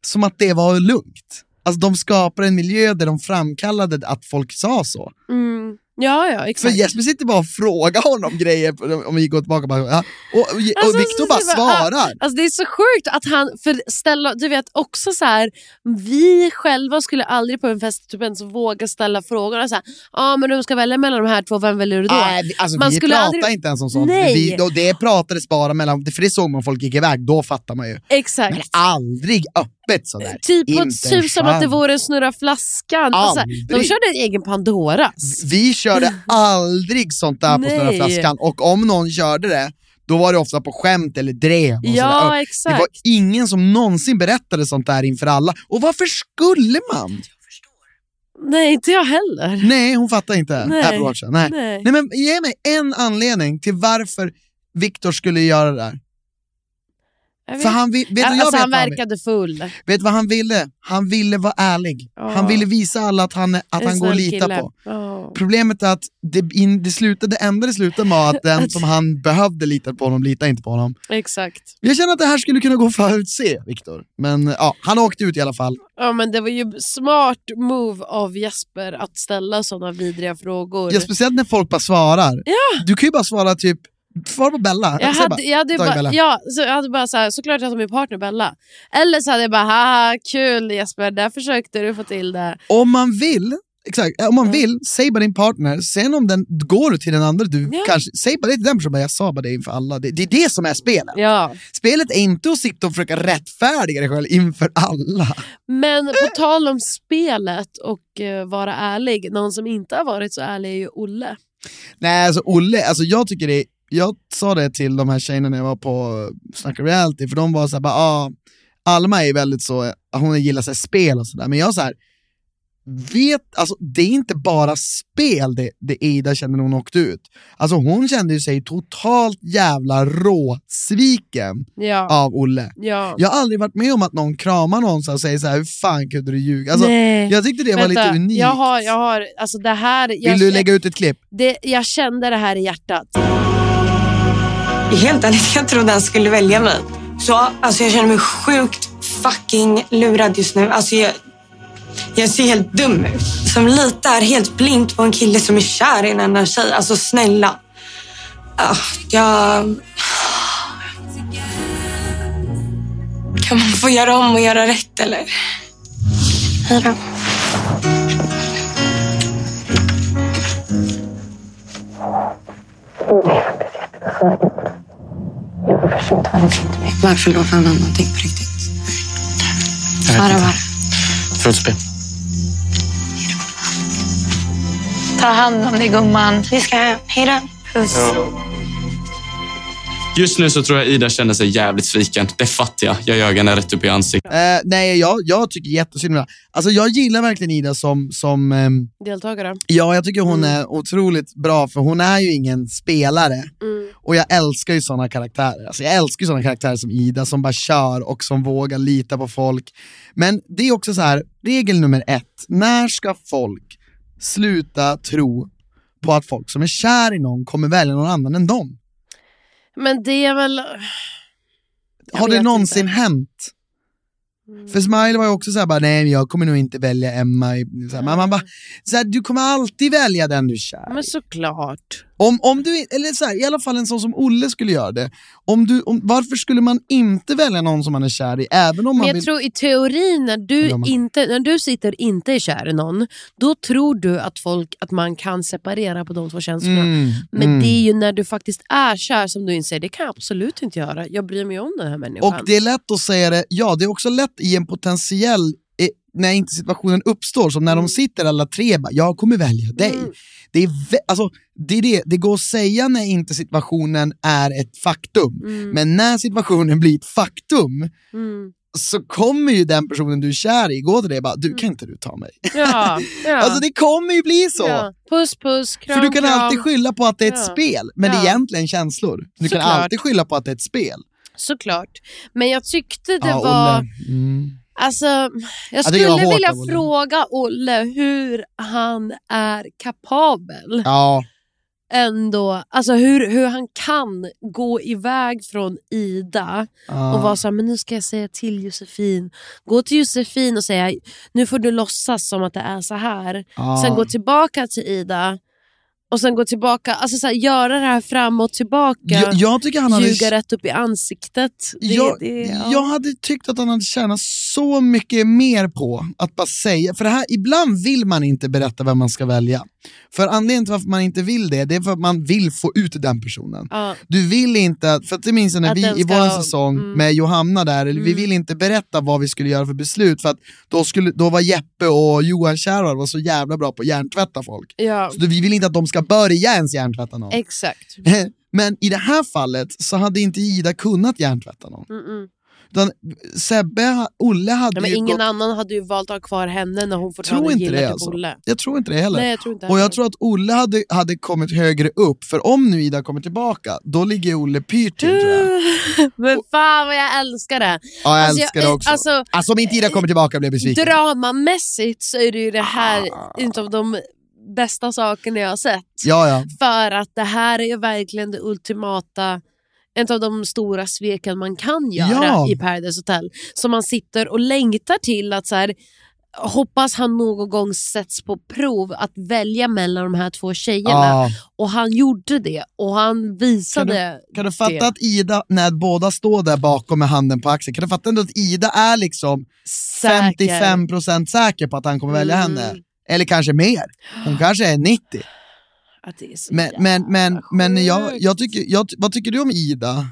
S1: som att det var lugnt. Alltså de skapade en miljö där de framkallade att folk sa så.
S2: Mm. Ja, ja, exakt.
S1: För Jesper sitter bara och frågar honom grejer, på- om vi går tillbaka bara, ja. och, och, och
S2: Alltså,
S1: Viktor
S2: så
S1: bara
S2: säger man, ah,
S1: svarar.
S2: Alltså, det är så sjukt att han, för ställa, du vet också så här, vi själva skulle aldrig på en fest typ ens våga ställa frågorna så här, ah, men du ska välja mellan de här två, vem väljer du då?
S1: Nej, vi- alltså, vi pratar inte ens om sånt.
S2: Nej,
S1: Vi, då, det pratades bara mellan, för det såg man folk gick iväg, då fattar man ju.
S2: exakt.
S1: Men aldrig öppet sådär.
S2: Typ på
S1: Inte
S2: ett,
S1: en
S2: typ som att det
S1: chans.
S2: vore en snurra flaskan. Alltså, de
S1: Aldrig.
S2: körde en egen Pandoras.
S1: Vi körde aldrig sånt där på
S2: Nej.
S1: Snurra flaskan och om någon körde det, då var det ofta på skämt eller drev. Och
S2: Ja,
S1: sådär. Och
S2: exakt.
S1: Det var ingen som någonsin berättade sånt där inför alla. Och varför skulle man?
S2: Nej, inte jag heller.
S1: Nej, hon fattar inte.
S2: Nej.
S1: Apple Watchen. Nej.
S2: Nej.
S1: Nej. men ge mig en anledning till varför Viktor skulle göra det där.
S2: Jag
S1: För han vill- vet du, jag
S2: alltså,
S1: vet
S2: han
S1: vad han vill.
S2: verkade full.
S1: Vet du vad han ville? Han ville vara ärlig.
S2: Ja.
S1: Han ville visa alla att han, är- att
S2: En
S1: han går att
S2: snäll
S1: lita
S2: kille.
S1: på.
S2: Ja.
S1: Problemet är att det, in, det, slutade, det enda det slutade var att den som han behövde lita på honom litade inte på honom.
S2: Exakt.
S1: Jag känner att det här skulle kunna gå att förutse, Viktor. Men ja, han åkte ut i alla fall.
S2: Ja, men det var ju smart move av Jesper att ställa sådana vidriga frågor.
S1: Ja, speciellt när folk bara svarar.
S2: Ja.
S1: Du kan ju bara svara typ, svara på Bella.
S2: jag
S1: Säg
S2: hade, jag hade, ju
S1: "Dag,
S2: bara,
S1: Bella."
S2: ja, så jag hade bara så här, såklart att de är partner Bella. Eller så hade jag bara, haha kul Jesper, där försökte du få till det.
S1: Om man vill, exakt, eh, om man vill, säg bara din partner. Sen om den går till den andra, du
S2: Ja.
S1: kanske, säg bara det till den personen. bara, Jag sa bara det inför alla. Det, det är det som är spelet.
S2: Ja.
S1: Spelet är inte att sitta och försöka rättfärdiga dig själv inför alla.
S2: Men på tal om spelet och eh, vara ärlig, någon som inte har varit så ärlig är ju Olle.
S1: Nej, alltså Olle, alltså jag tycker det jag sa det till de här tjejerna när jag var på eh, Snacka Reality, för de var eh, såhär, bara, ah, Alma är väldigt så, hon gillar så här spel och sådär, men jag så här, vet, alltså det är inte bara spel det, det Ida kände när hon åkte ut. Alltså hon kände ju sig totalt jävla råsviken
S2: Ja.
S1: av Olle.
S2: Ja.
S1: Jag har aldrig varit med om att någon kramar någon och säger så här, hur fan kunde du ljuga? Alltså, jag tyckte det var
S2: Vänta,
S1: lite unikt.
S2: Jag har, jag har, alltså det här... Jag,
S1: Vill du lägga ut ett klipp?
S2: det, jag kände det här i hjärtat.
S6: Helt ärligt, jag trodde han skulle välja mig. Så alltså, jag känner mig sjukt fucking lurad just nu. Alltså, jag, jag ser helt dum ut. Som litar helt blint på en kille som är kär i en annan tjej. Alltså snälla. Ah, jag... Kan man få göra om och göra rätt eller? Hej då.
S11: Varför låg han någonting på riktigt?
S4: Svara bara. Fruktspel.
S11: Ta hand om dig gumman. Vi ska hem. Hejdå. Puss.
S7: Just nu så tror jag Ida känner sig jävligt sviken. Det fattar jag. Jag ljög henne rätt upp i ansiktet.
S1: Eh, nej, jag, jag tycker jättesynd om henne. Alltså jag gillar verkligen Ida som, som ehm,
S2: Deltagare.
S1: Ja, jag tycker hon är otroligt bra för hon är ju ingen spelare. Och jag älskar ju sådana karaktärer. Alltså, jag älskar ju sådana karaktärer som Ida som bara kör och som vågar lita på folk. Men det är också så här, regel nummer ett. När ska folk sluta tro på att folk som är kär i någon kommer välja någon annan än dem?
S2: Men det är väl...
S1: Har det någonsin hänt?
S2: Mm.
S1: För Smile var ju också såhär, bara, nej men jag kommer nog inte välja Emma. i- Så här, men man bara, så här, du kommer alltid välja den du är kär
S2: Men såklart.
S1: Om, om du, eller så här, i alla fall en sån som Olle skulle göra det. Om du, om, varför skulle man inte välja någon som man är kär i? Även om
S2: Men
S1: man
S2: jag
S1: vill...
S2: tror i teorin, när
S1: Eller
S2: du,
S1: om man-
S2: inte, när du sitter inte är kär i någon, då tror du att, folk, att man kan separera på de två känslorna.
S1: Mm,
S2: Men
S1: mm.
S2: det är ju när du faktiskt är kär som du inser, det kan jag absolut inte göra. Jag bryr mig om den här människan.
S1: Och det är lätt att säga det, ja det är också lätt i en potentiell, eh, när inte situationen uppstår, som
S2: Mm.
S1: när de sitter alla tre bara, jag kommer välja dig. Det, är vä- alltså, det, är det, det går att säga när inte situationen är ett faktum,
S2: Mm.
S1: men när situationen blir ett faktum så kommer ju den personen du är kär i gå till dig och bara, du kan inte du ta mig?
S2: Ja, Mm. ja.
S1: Alltså det kommer ju bli så.
S2: Ja. Puss puss, kram
S1: För du kan
S2: kram.
S1: alltid skylla på att det är ett
S2: Ja.
S1: spel, men det är
S2: Ja.
S1: egentligen känslor. Du kan
S2: Såklart.
S1: alltid skylla på att det är ett spel.
S2: Såklart. Men jag tyckte det
S1: Ja, Olle.
S2: var...
S1: Mm.
S2: Alltså, jag
S1: det
S2: skulle
S1: var hårt
S2: vilja
S1: av Olle.
S2: fråga Olle hur han är kapabel.
S1: Ja.
S2: Ändå, alltså hur, hur han kan gå iväg från Ida
S1: Ja.
S2: och vara så här, men nu ska jag säga till Josefin. Gå till Josefin och säga, nu får du låtsas som att det är så här.
S1: Ah.
S12: Ja.
S2: Sen gå tillbaka till Ida och sen gå tillbaka, alltså så här, göra det här fram och tillbaka.
S1: Jag- jag tycker han hade-
S2: Ljuga rätt upp i ansiktet. Det,
S1: jag,
S2: det,
S1: jag hade tyckt att han hade tjänat så mycket mer på att bara säga, för det här, ibland vill man inte berätta vem man ska välja. För anledningen till varför man inte vill det, det är för att man vill få ut den personen.
S2: Ja.
S1: Du vill inte, att- för att det minns jag när
S2: Att den
S1: vi i
S2: ska
S1: vår
S2: vara-
S1: säsong
S2: mm.
S1: med Johanna där, eller vi ville inte berätta vad vi skulle göra för beslut, för att då, skulle, då var Jeppe och Johan Kärrholm var så jävla bra på att hjärntvätta folk.
S2: Ja,
S1: Så vi vill inte att de ska börja ens hjärntvätta någon.
S2: exakt.
S1: Eh, Men i det här fallet så hade inte Ida kunnat hjärntvätta någon.
S2: Mm-mm.
S1: Utan Sebbe, Olle hade
S2: Nej, men
S1: ju
S2: ingen
S1: gått...
S2: annan hade ju valt att ha kvar henne när hon
S1: Jag tror
S2: fortfarande
S1: inte
S2: gillar
S1: det
S2: typ
S1: alltså.
S2: Olle.
S1: Jag tror inte det heller.
S2: Nej, jag tror inte
S1: och
S2: heller.
S1: jag tror att Olle hade, hade kommit högre upp, för om nu Ida kommer tillbaka, då ligger Olle pyrt till tror jag.
S2: Men fan vad jag älskar det.
S1: Ja, jag
S2: Alltså, jag-
S1: älskar det också.
S2: alltså, eh,
S1: Alltså, om inte Ida kommer tillbaka blir jag besviken.
S2: Dramamässigt så är det ju det här en av de bästa sakerna jag har sett.
S1: Ah. Ja, ja.
S2: För att det här är ju verkligen det ultimata, en av de stora sveken man kan göra
S12: Ja.
S2: i Paradise Hotel. Som man sitter och längtar till att så här, hoppas han någon gång sätts på prov att välja mellan de här två tjejerna.
S1: Ja.
S2: Och han gjorde det och han
S1: Kan
S2: visade
S1: du, kan du
S2: det.
S1: fatta att Ida, när båda står där bakom med handen på axeln, kan du fatta ändå att Ida är liksom 55% säker på att han kommer välja
S2: Mm.
S1: henne? Eller kanske mer. Hon kanske är 90.
S2: Att det är så
S1: Men, men, men, men jag, jag tycker, jag, vad tycker du om Ida?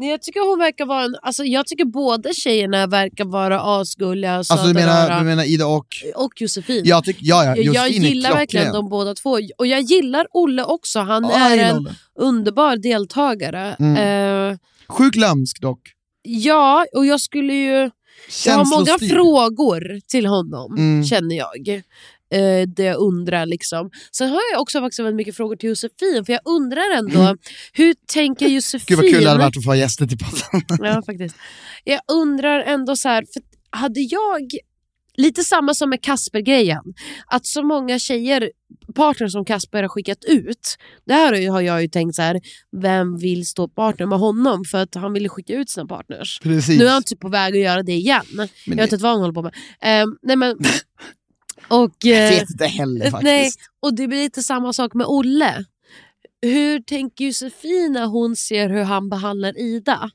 S2: Nej, jag tycker hon verkar vara en, alltså jag tycker båda tjejerna verkar vara asgulliga och
S1: Alltså du
S2: söta
S1: menar,
S2: rara.
S1: du menar Ida och...
S2: och Josefin.
S1: Jag tycker- ja, ja,
S2: Jag- jag
S1: Josefin är
S2: gillar verkligen
S1: klockren.
S2: de båda två. Och jag gillar Olle också. Han
S1: Ja, jag
S2: är
S1: gillar
S2: en
S1: Olle.
S2: underbar deltagare.
S1: Mm.
S2: Eh,
S1: Sjuk lömsk dock.
S2: ja, och jag skulle ju... Jag har många
S1: Känslostyrd.
S2: frågor till honom,
S1: Mm.
S2: känner jag. Eh, det jag undrar liksom. Sen har jag också faktiskt väldigt mycket frågor till Josefin, för jag undrar ändå,
S1: Mm.
S2: hur tänker Josefin?
S1: Gud vad kul det hade varit att få ha gäster till podden.
S2: Ja, faktiskt. Jag undrar ändå så här, för hade jag, lite samma som med Kasper-grejen, att så många tjejer, partner som Kasper har skickat ut, där har jag ju tänkt så här, vem vill stå partner med honom? För att han ville skicka ut sina partners.
S1: Precis.
S2: Nu är han typ på väg att göra det igen. jag
S1: det-
S2: vet inte vad han håller på med. Ehm, nej men... Och, eh,
S1: vet inte heller faktiskt.
S2: Nej, och det blir lite samma sak med Olle. Hur tänker Josefin när hon ser hur han behandlar Ida?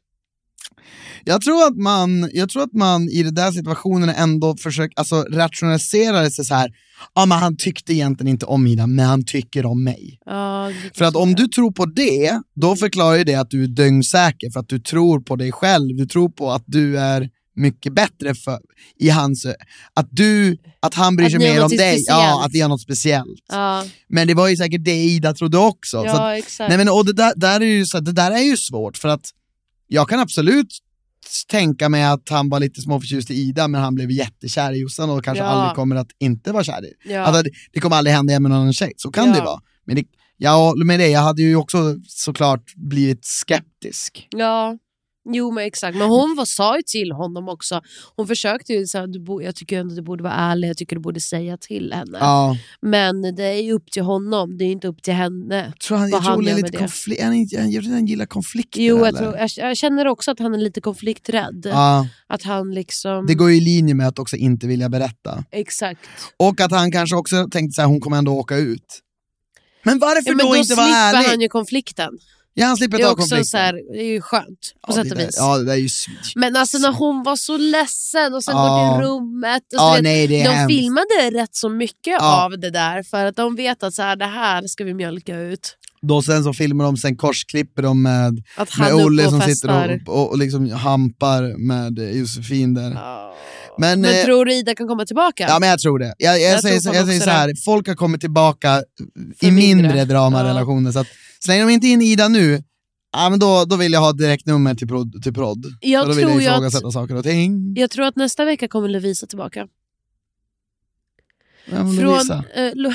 S1: Jag tror, att man, jag tror att man i den där situationen ändå försöker alltså, rationalisera det sig så här. Ja, men han tyckte egentligen inte om Ida, men han tycker om mig.
S2: Ja,
S1: För att om du tror på det, då förklarar ju det att du är dyngsäker för att du tror på dig själv. Du tror på att du är mycket bättre för, i hans ö- Att, du, att han bryr
S2: Att
S1: sig
S2: ni har
S1: mer om
S2: något
S1: dig.
S2: speciellt.
S1: Ja, att det är något speciellt.
S2: Ja.
S1: Men det var ju säkert det Ida trodde också.
S2: Ja,
S1: så att,
S2: exakt.
S1: Nej, men, och det, där, där är ju, så, att- det där är ju svårt för att jag kan absolut tänka mig att han var lite småförtjust i Ida men han blev jättekär i Jossan och kanske
S2: Ja.
S1: aldrig kommer att inte vara kär i.
S2: Ja.
S1: Alltså, det, det kommer aldrig hända igen med någon annan tjej, så kan
S2: Ja.
S1: det ju vara. Men det, jag håller med dig, jag hade ju också såklart blivit skeptisk.
S2: Ja, jo men exakt. Men hon var, sa ju till honom också. Hon försökte ju säga, du bo, jag tycker ändå du borde vara ärlig, jag tycker du borde säga till henne.
S1: Ja.
S2: Men det är ju upp till honom, det är ju inte upp till henne.
S1: Tror han,
S2: vad
S1: jag tror Olle
S2: gör
S1: är
S2: med
S1: lite
S2: det.
S1: konflikt, han, är inte- han, jag tror han gillar konflikter.
S2: Jo, jag,
S1: eller?
S2: tror, jag, jag känner också att han är lite konflikträdd.
S1: Ja.
S2: Att han liksom...
S1: Det går ju i linje med att också inte vilja berätta.
S2: Exakt.
S1: Och att han kanske också tänkte så här, hon kommer ändå åka ut. Men varför
S2: men
S1: då, inte vara
S2: slipper
S1: ärlig?
S2: han ju konflikten.
S1: Ja, han slipper
S2: det är
S1: ta
S2: också
S1: konflikten.
S2: Så här, det är ju skönt på
S1: Ja,
S2: sätt
S1: det
S2: och
S1: där,
S2: vis.
S1: ja, det där är ju sm-
S2: Men alltså när hon var så ledsen och sen
S1: Ja.
S2: går till rummet. Och så
S1: Ja,
S2: vet,
S1: nej, det är
S2: de
S1: hemskt.
S2: filmade rätt så mycket
S1: Ja.
S2: av det där för att de vet att så här, det här ska vi mjölka ut.
S1: Då sen så filmar de, sen korsklipper de med,
S2: Att han
S1: med
S2: är uppe
S1: Olle
S2: och
S1: som
S2: festar.
S1: sitter och, och, och liksom hampar med eh, Josefin där. Men,
S2: Men
S1: eh,
S2: tror du Ida kan komma tillbaka?
S1: Ja men jag tror det. Jag, jag,
S2: Jag
S1: säger,
S2: tror fan
S1: jag säger så
S2: också
S1: här, folk har kommit tillbaka i
S2: mindre.
S1: mindre dramarelationer. Så att, så länge de inte är in i Ida nu, ja, men då, då vill jag ha direktnummer till prod. Till prod.
S2: Jag
S1: Så då vill
S2: tror
S1: jag
S2: ju att-
S1: ifrågasätta saker och ting.
S2: Jag tror att nästa vecka kommer Lovisa tillbaka.
S1: Ja, men
S2: Från,
S1: Lovisa.
S2: eh, Lo-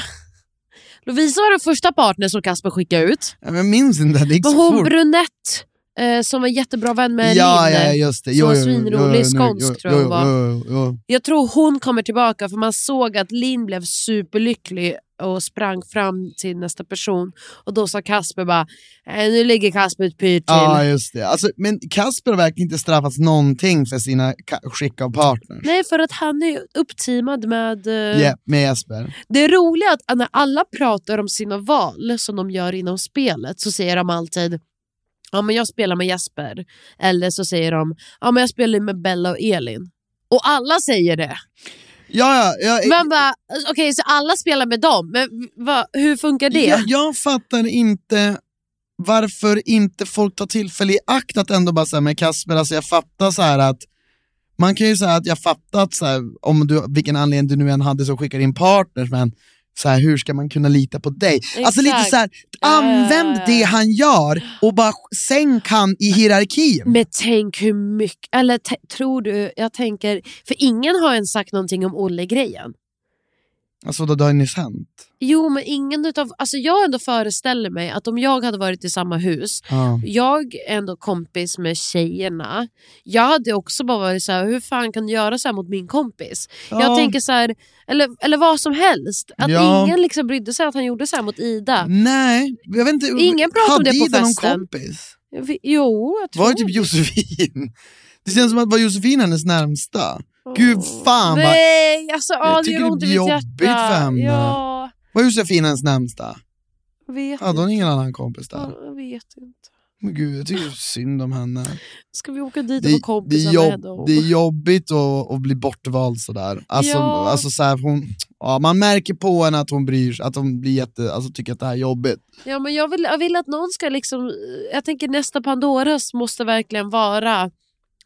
S2: Lovisa var den första partner som Casper skickade ut.
S1: Ja, men jag minns inte, det gick
S2: Men
S1: så
S2: hon
S1: fort.
S2: brunett eh, som var jättebra vän med
S1: ja,
S2: Linn.
S1: ja, just det.
S2: Som
S1: Jo,
S2: var
S1: jo, jo,
S2: svinrolig,
S1: jo, nu-
S2: skånsk
S1: jo,
S2: tror jag
S1: jo,
S2: hon var.
S1: jo, jo, jo.
S2: Jag tror hon kommer tillbaka för man såg att Linn blev superlycklig och sprang fram till nästa person. Och då sa Kasper bara, "Eh, nu ligger Kasper ett pyr till.
S1: Ja, just det. Alltså, men Kasper har verkligen inte straffats någonting för sina ka- skick av partner.
S2: Nej, för att han är uppteamad med... eh,
S1: Ja, med Jesper.
S2: Det är roligt att när alla pratar om sina val som de gör inom spelet så säger de alltid Ja men jag spelar med Jesper. Eller så säger de Ja men jag spelar med Bella och Elin. Och alla säger det.
S1: Ja, ja, ja,
S2: Man bara, okej så alla spelar med dem, men va, hur funkar det?
S1: Jag, jag fattar inte varför inte folk tar tillfälle i akt att ändå bara säga med Kasper, alltså jag fattar så här att man kan ju säga att jag fattat så här, om du, vilken anledning du nu än hade som skickar in partners, men så här, hur ska man kunna lita på dig? Alltså lite
S2: Exakt.
S1: så
S2: Ah.
S1: här, använd det han gör och bara sänk han i hierarkin.
S2: Men tänk hur mycket, eller t- tror du, jag tänker, för ingen har än sagt någonting om Olle-grejen.
S1: Alltså då, det har ju nyss hänt.
S2: Jo, men ingen utav, alltså jag ändå föreställer mig att om jag hade varit i samma hus,
S1: Ja.
S2: jag är ändå kompis med tjejerna, jag hade också bara varit så här, hur fan kan du göra så här mot min kompis?
S1: Ja.
S2: Jag tänker så här, eller, eller vad som helst, att
S1: Ja. Mm.
S2: ingen liksom brydde sig att han gjorde så här mot Ida.
S1: Nej, jag vet inte.
S2: Ingen pratar om
S1: hade
S2: det på
S1: Ida någon
S2: festen.
S1: kompis?
S2: Jag vet- Jo, jag tror
S1: Var det typ Josefin? Det känns som att var Josefin hennes närmsta. Gud fan vad...
S2: Nej, alltså ja,
S1: Jag
S2: det
S1: tycker
S2: gör
S1: det
S2: ont i
S1: blir
S2: mitt hjärta.
S1: jobbigt för henne.
S2: Ja,
S1: Var Josefin hennes närmsta?
S2: jag vet
S1: Hade hon
S2: inte.
S1: ingen annan kompis där?
S2: Ja, Jag vet inte.
S1: Men gud, jag tycker synd om henne.
S2: Ska vi åka dit och
S1: Det,
S2: vara
S1: det,
S2: kompisar
S1: är,
S2: med
S1: jobb,
S2: dem?
S1: det är jobbigt att, att bli bortvald sådär. Alltså,
S2: Ja.
S1: alltså så här, hon, ja, man märker på henne att hon bryr sig, att hon blir jätte, alltså, tycker att det här är jobbigt.
S2: Ja, men jag, vill, jag vill att någon ska liksom... Jag tänker nästa Pandoras måste verkligen vara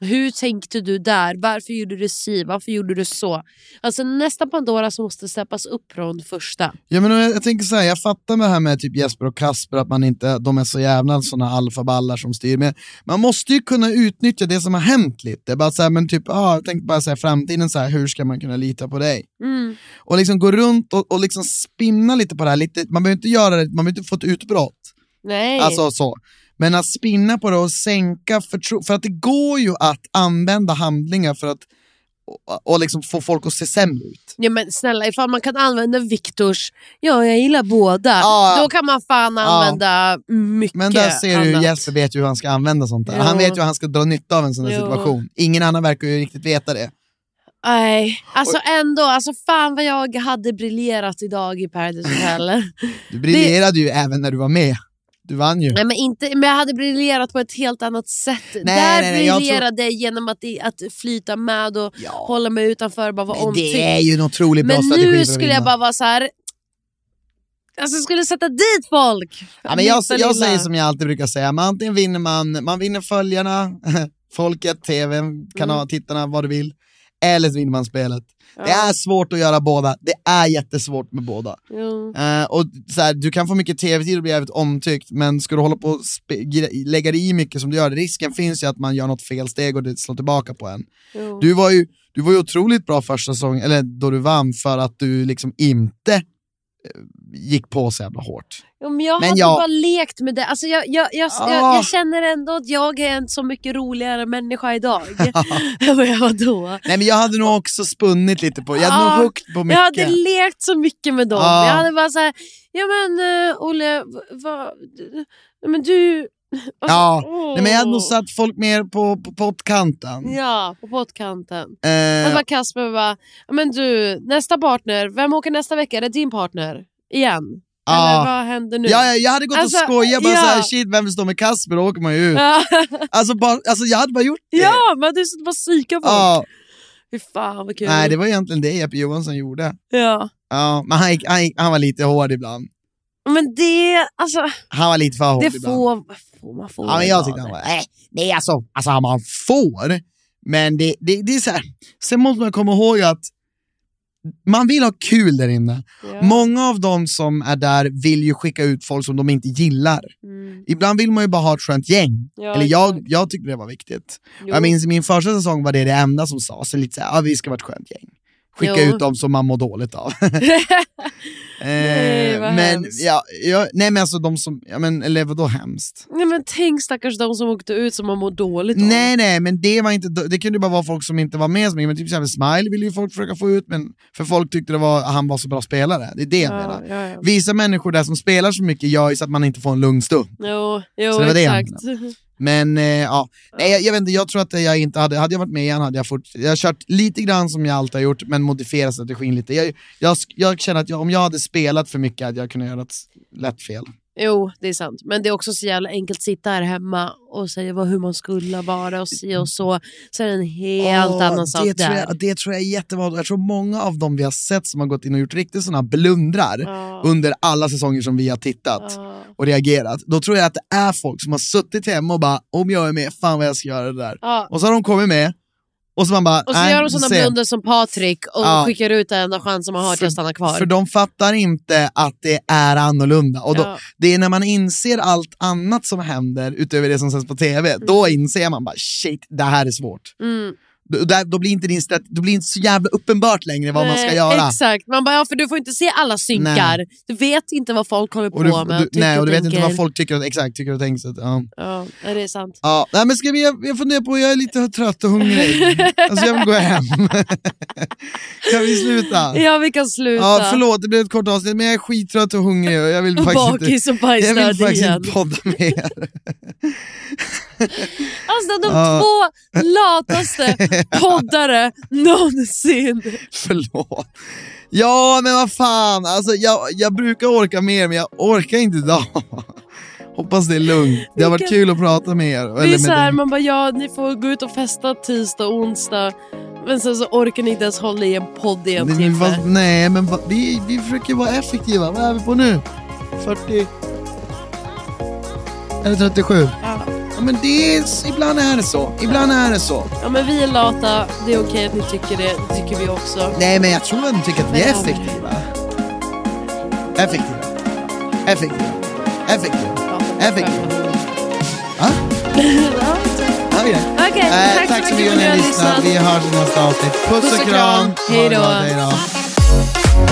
S2: Hur tänkte du där? Varför gjorde du si? Varför gjorde du så? Alltså nästa Pandora som måste släppas upp från första.
S1: Ja, men jag, jag tänker så här, jag fattar med det här med typ Jesper och Kasper, att man inte, de är så jävla sådana alfaballar som styr, men man måste ju kunna utnyttja det som har hänt lite. Bara så här, men typ, ah, jag tänkte bara så här, framtiden, så här, hur ska man kunna lita på dig?
S2: Mm.
S1: Och liksom gå runt och, och liksom spinna lite på det här, lite, man behöver inte göra det, man behöver inte få ett utbrott.
S2: Nej.
S1: Alltså så. Men att spinna på det och sänka förtro... För att det går ju att använda handlingar för att och, och liksom få folk att se sämre ut.
S2: Ja men snälla, ifall man kan använda Viktors, ja jag gillar båda, då kan man fan använda mycket
S1: Men där ser du ju,
S2: annat.
S1: Jesper vet ju hur han ska använda sånt där.
S2: Ja.
S1: Han vet ju hur han ska dra nytta av en sån där
S2: Jo.
S1: situation. Ingen annan verkar ju riktigt veta det.
S2: Nej, alltså ändå, alltså fan vad jag hade briljerat idag i Paradise Hotel.
S1: Du briljerade ju även när du var med. Du vann ju.
S2: Nej, men, inte, men jag hade briljerat på ett helt annat sätt. Där
S1: nej, nej, jag tror-
S2: briljerade jag genom att, att flyta med och hålla mig utanför och bara vara
S1: Men
S2: omtyckt.
S1: det är ju en otroligt bra
S2: Men
S1: strategi för
S2: nu
S1: att
S2: skulle jag
S1: vinna.
S2: bara vara så här. Alltså jag skulle sätta dit folk.
S1: Ja, men jag,
S2: Minsta
S1: jag
S2: lilla.
S1: säger som jag alltid brukar säga, man antingen vinner man, man vinner följarna, folket, tvn, kanal,
S2: Mm.
S1: tittarna, vad du vill. Eller så vinner man spelet. Det är svårt att göra båda, det är jättesvårt med båda.
S2: Jo.
S1: Eh, och så här, du kan få mycket tv-tid och bli jävligt omtyckt, men ska du hålla på och spe- gre- lägga dig i mycket som du gör, risken finns ju att man gör något fel steg och det slår tillbaka på en.
S2: Jo.
S1: Du var ju, du var ju otroligt bra första säsongen, eller då du vann, för att du liksom inte eh, gick på så jävla hårt.
S2: Jo, men jag
S1: Men
S2: hade
S1: jag-
S2: bara lekt med det. Alltså jag, jag, jag, jag,
S1: Ah.
S2: jag känner ändå att jag är en så mycket roligare människa idag än vad jag var då.
S1: Nej men jag hade nog också spunnit lite på, jag hade
S2: Ja,
S1: nog hukt på mycket.
S2: Jag hade lekt så mycket med dem.
S1: Ja.
S2: Jag hade bara så här, ja men eh, Olle, v- vad, d- men du...
S1: Ja,
S2: Åh.
S1: Nej, men jag hade nog satt folk mer på, på pottkanten.
S2: Ja, på pottkanten.
S1: Eh.
S2: Äh... Bara Kasper bara, "Ja, men du, nästa partner, vem åker nästa vecka? Är det din partner? Igen?
S1: Ja.
S2: Eller vad händer nu?
S1: Ja, ja, jag hade gått
S2: Alltså,
S1: och skojat bara
S2: ja.
S1: såhär, shit vem vill stå med Kasper, då åker man ju ut.
S2: Ja.
S1: Alltså, bara, alltså jag hade bara gjort det.
S2: Ja, men du bara psykar folk.
S1: Ja.
S2: Fy fan vad kul.
S1: Nej, det var egentligen det Jeppe Johansson gjorde.
S2: Ja.
S1: Ja, men han, gick, han, gick, han var lite hård ibland.
S2: Men det, alltså,
S1: Han var lite för hård
S2: det
S1: ibland.
S2: får, får man få.
S1: Ja, men jag tyckte han var... Nej, nej alltså, alltså man får. Men det, det, det är så här. sen måste man komma ihåg att man vill ha kul där inne. Många av de som är där vill ju skicka ut folk som de inte gillar. Ibland vill man ju bara ha ett skönt gäng.
S2: Mm. Ja,
S1: Eller jag, jag tyckte det var viktigt.
S2: Jo.
S1: Jag minns i min första säsong var det det enda som sades. Så lite så här, ja, vi ska vara ett skönt gäng. Skicka
S2: Jo.
S1: ut dem som man mår dåligt av. Eh,
S2: Nej, vad
S1: men,
S2: hemskt.
S1: ja, jag, nej men alltså de som, ja, men, eller vadå hemskt?
S2: Nej, men tänk stackars de som åkte ut som har mått dåligt av.
S1: Nej, nej, men det var inte, det kunde ju bara vara folk som inte var med. så mycket. Men typ så här, Smile ville ju folk försöka få ut, men för folk tyckte det var, han var så bra spelare. Det är det jag
S2: Ja,
S1: menar.
S2: ja, ja.
S1: Vissa människor där som spelar så mycket gör ju så att man inte får en lugn stund.
S2: Jo, jo
S1: Så det var det jag
S2: exakt.
S1: Men eh, ja, nej, jag, jag vet inte, jag tror att jag inte hade, hade jag varit med igen hade jag fort, jag har kört lite grann som jag alltid har gjort, men modifierat strategin lite. Jag, jag, jag känner att jag, om jag hade spelat för mycket hade jag kunnat göra ett lätt fel.
S2: Jo, det är sant. Men det är också så jävla enkelt att sitta här hemma och säga vad, hur man skulle vara och si och så. Sen är det en helt
S1: Ja,
S2: annan sak
S1: det tror,
S2: där.
S1: jag, det tror jag är jättebra. Jag tror många av dem vi har sett som har gått in och gjort riktigt sådana blundrar under alla säsonger som vi har tittat och reagerat. Då tror jag att det är folk som har suttit hemma och bara, om jag är med, fan vad jag ska göra det där.
S2: Ja.
S1: Och så har de kommit med och så man bara,
S2: Och så
S1: "Nej,
S2: gör de
S1: vi får
S2: sådana
S1: se."
S2: blunder som Patrik och
S1: Ja.
S2: skickar ut den enda chans som man har till att stanna kvar.
S1: För de fattar inte att det är annorlunda. Och då,
S2: Ja.
S1: Det är när man inser allt annat som händer utöver det som sänds på tv, då inser man bara shit, det här är svårt.
S2: Mm.
S1: Då, där- då, blir inte din strat- då blir inte så jävla uppenbart längre vad man ska
S2: Nej,
S1: göra.
S2: Eh, Exakt, man bara, ja, för du får inte se alla synkar.
S1: Nej.
S2: Du vet inte vad folk håller på
S1: Och du,
S2: med.
S1: du,
S2: tycker
S1: nej, och du vet
S2: tänker.
S1: inte vad folk tycker, och- exakt, tycker och tänker. Så att, ja.
S2: Ja, nej, det är sant.
S1: Ja, nej, men ska vi, jag, jag funderar på, jag är lite trött och hungrig. alltså jag vill gå hem. kan vi sluta?
S2: Ja, vi kan sluta.
S1: Ja, förlåt, det blev ett kort avsnitt, men jag är skittrött och hungrig och jag vill
S2: Och
S1: faktiskt
S2: bakis och
S1: inte, jag vill
S2: bajsnödig
S1: faktiskt
S2: igen.
S1: inte podda mer.
S2: Alltså de
S1: Ja.
S2: två lataste poddare någonsin.
S1: Förlåt. Ja, men vad fan, alltså jag, jag brukar orka mer, men jag orkar inte idag. Hoppas det är lugnt. Det har varit
S2: Vilken-
S1: kul att prata med er.
S2: Det är
S1: eller med
S2: så här,
S1: dig.
S2: man bara ja, ni får gå ut och festa tisdag och onsdag. Men sen så orkar ni inte ens hålla i en podd i en
S1: Det- men
S2: timme.
S1: vad- nej, men vad- vi, vi försöker vara effektiva. Vad är vi på nu? 40? Eller 37?
S2: Ja.
S1: men det är, ibland är det så. Ibland är det så.
S2: Ja, men vi är lata. Det är okej att ni tycker det. Det tycker vi också.
S1: Nej, men jag tror att de tycker att vi är
S2: Men-
S1: effektiva. Effektiva. Effektiva. Effektiva. Effektiva. Ja. Ja, ja.
S2: Okej,
S1: Eh,
S2: tack så
S1: Tack så
S2: mycket
S1: mycket för att ni har lyssnat. Vi hörs i nästa avsnitt. Puss och kram.
S2: Hej då.
S1: Ha det bra. Hej då.